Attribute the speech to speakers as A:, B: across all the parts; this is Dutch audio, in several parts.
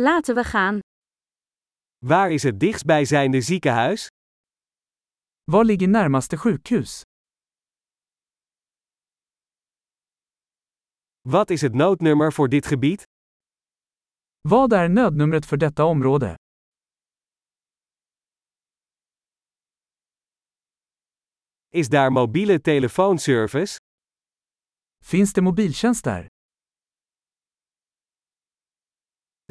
A: Laten we gaan.
B: Waar is het dichtstbijzijnde ziekenhuis?
C: Var ligger närmaste sjukhus?
B: Wat is het noodnummer voor dit gebied?
C: Vad är nödnumret för detta område?
B: Is daar mobiele telefoonservice?
C: Finns det mobiltjänst där?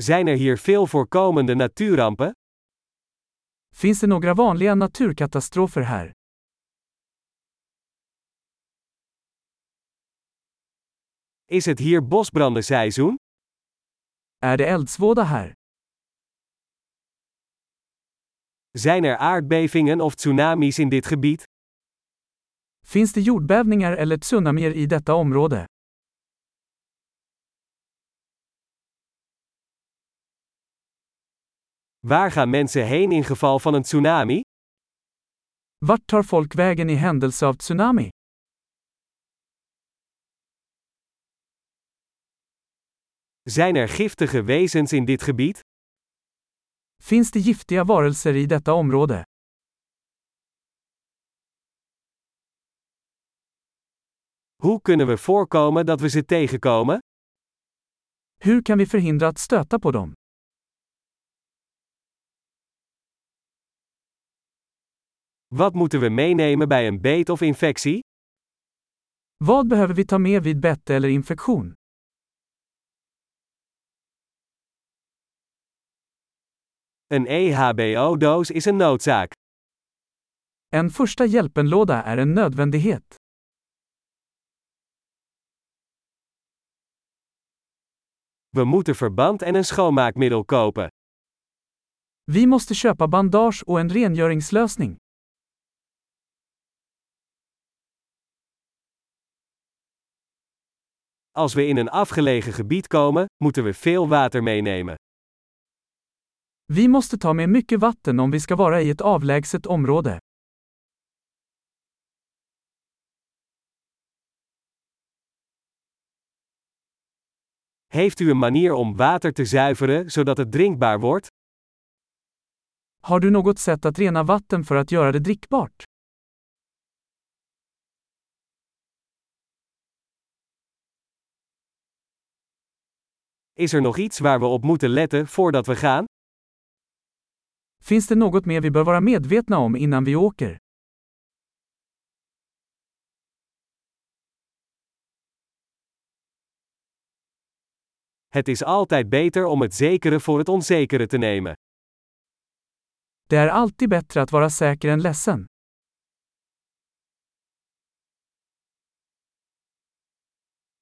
B: Zijn er hier veel voorkomende natuurrampen?
C: Finns det några vanliga naturkatastrofer här?
B: Is het hier bosbrandenseizoen?
C: Är det eldsvåda här?
B: Zijn er aardbevingen of tsunamis in dit gebied?
C: Finns det jordbävningar eller tsunamier i detta område?
B: Waar gaan mensen heen in geval van een tsunami?
C: Vart tar folk vägen i händelse av tsunami?
B: Zijn er giftige wezens in dit gebied?
C: Finns det giftiga varelser i detta område?
B: Hoe kunnen we voorkomen dat we ze tegenkomen?
C: Hur kan vi förhindra att stöta på dem?
B: Wat moeten we meenemen bij een beet of infectie?
C: Vad behöver vi ta med vid bett eller infektion?
B: Een E EHBO-doos is een noodzaak.
C: En första hjälpenlåda är en nödvändighet.
B: We moeten verband en een schoonmaakmiddel kopen.
C: Vi måste köpa bandage och en rengöringslösning.
B: Als we in een afgelegen gebied komen, moeten we veel water meenemen.
C: Vi måste ta med mycket vatten om vi ska vara i ett avlägset område.
B: Heeft u een manier om water te zuiveren zodat het drinkbaar wordt?
C: Har du något sätt att rena vatten för att göra det drickbart?
B: Is er nog iets waar we op moeten letten voordat we gaan?
C: Finns det något mer vi bör vara medvetna om innan vi åker?
B: Het is altijd beter om het zekere voor het onzekere te nemen.
C: Det är alltid bättre att vara säker än ledsen.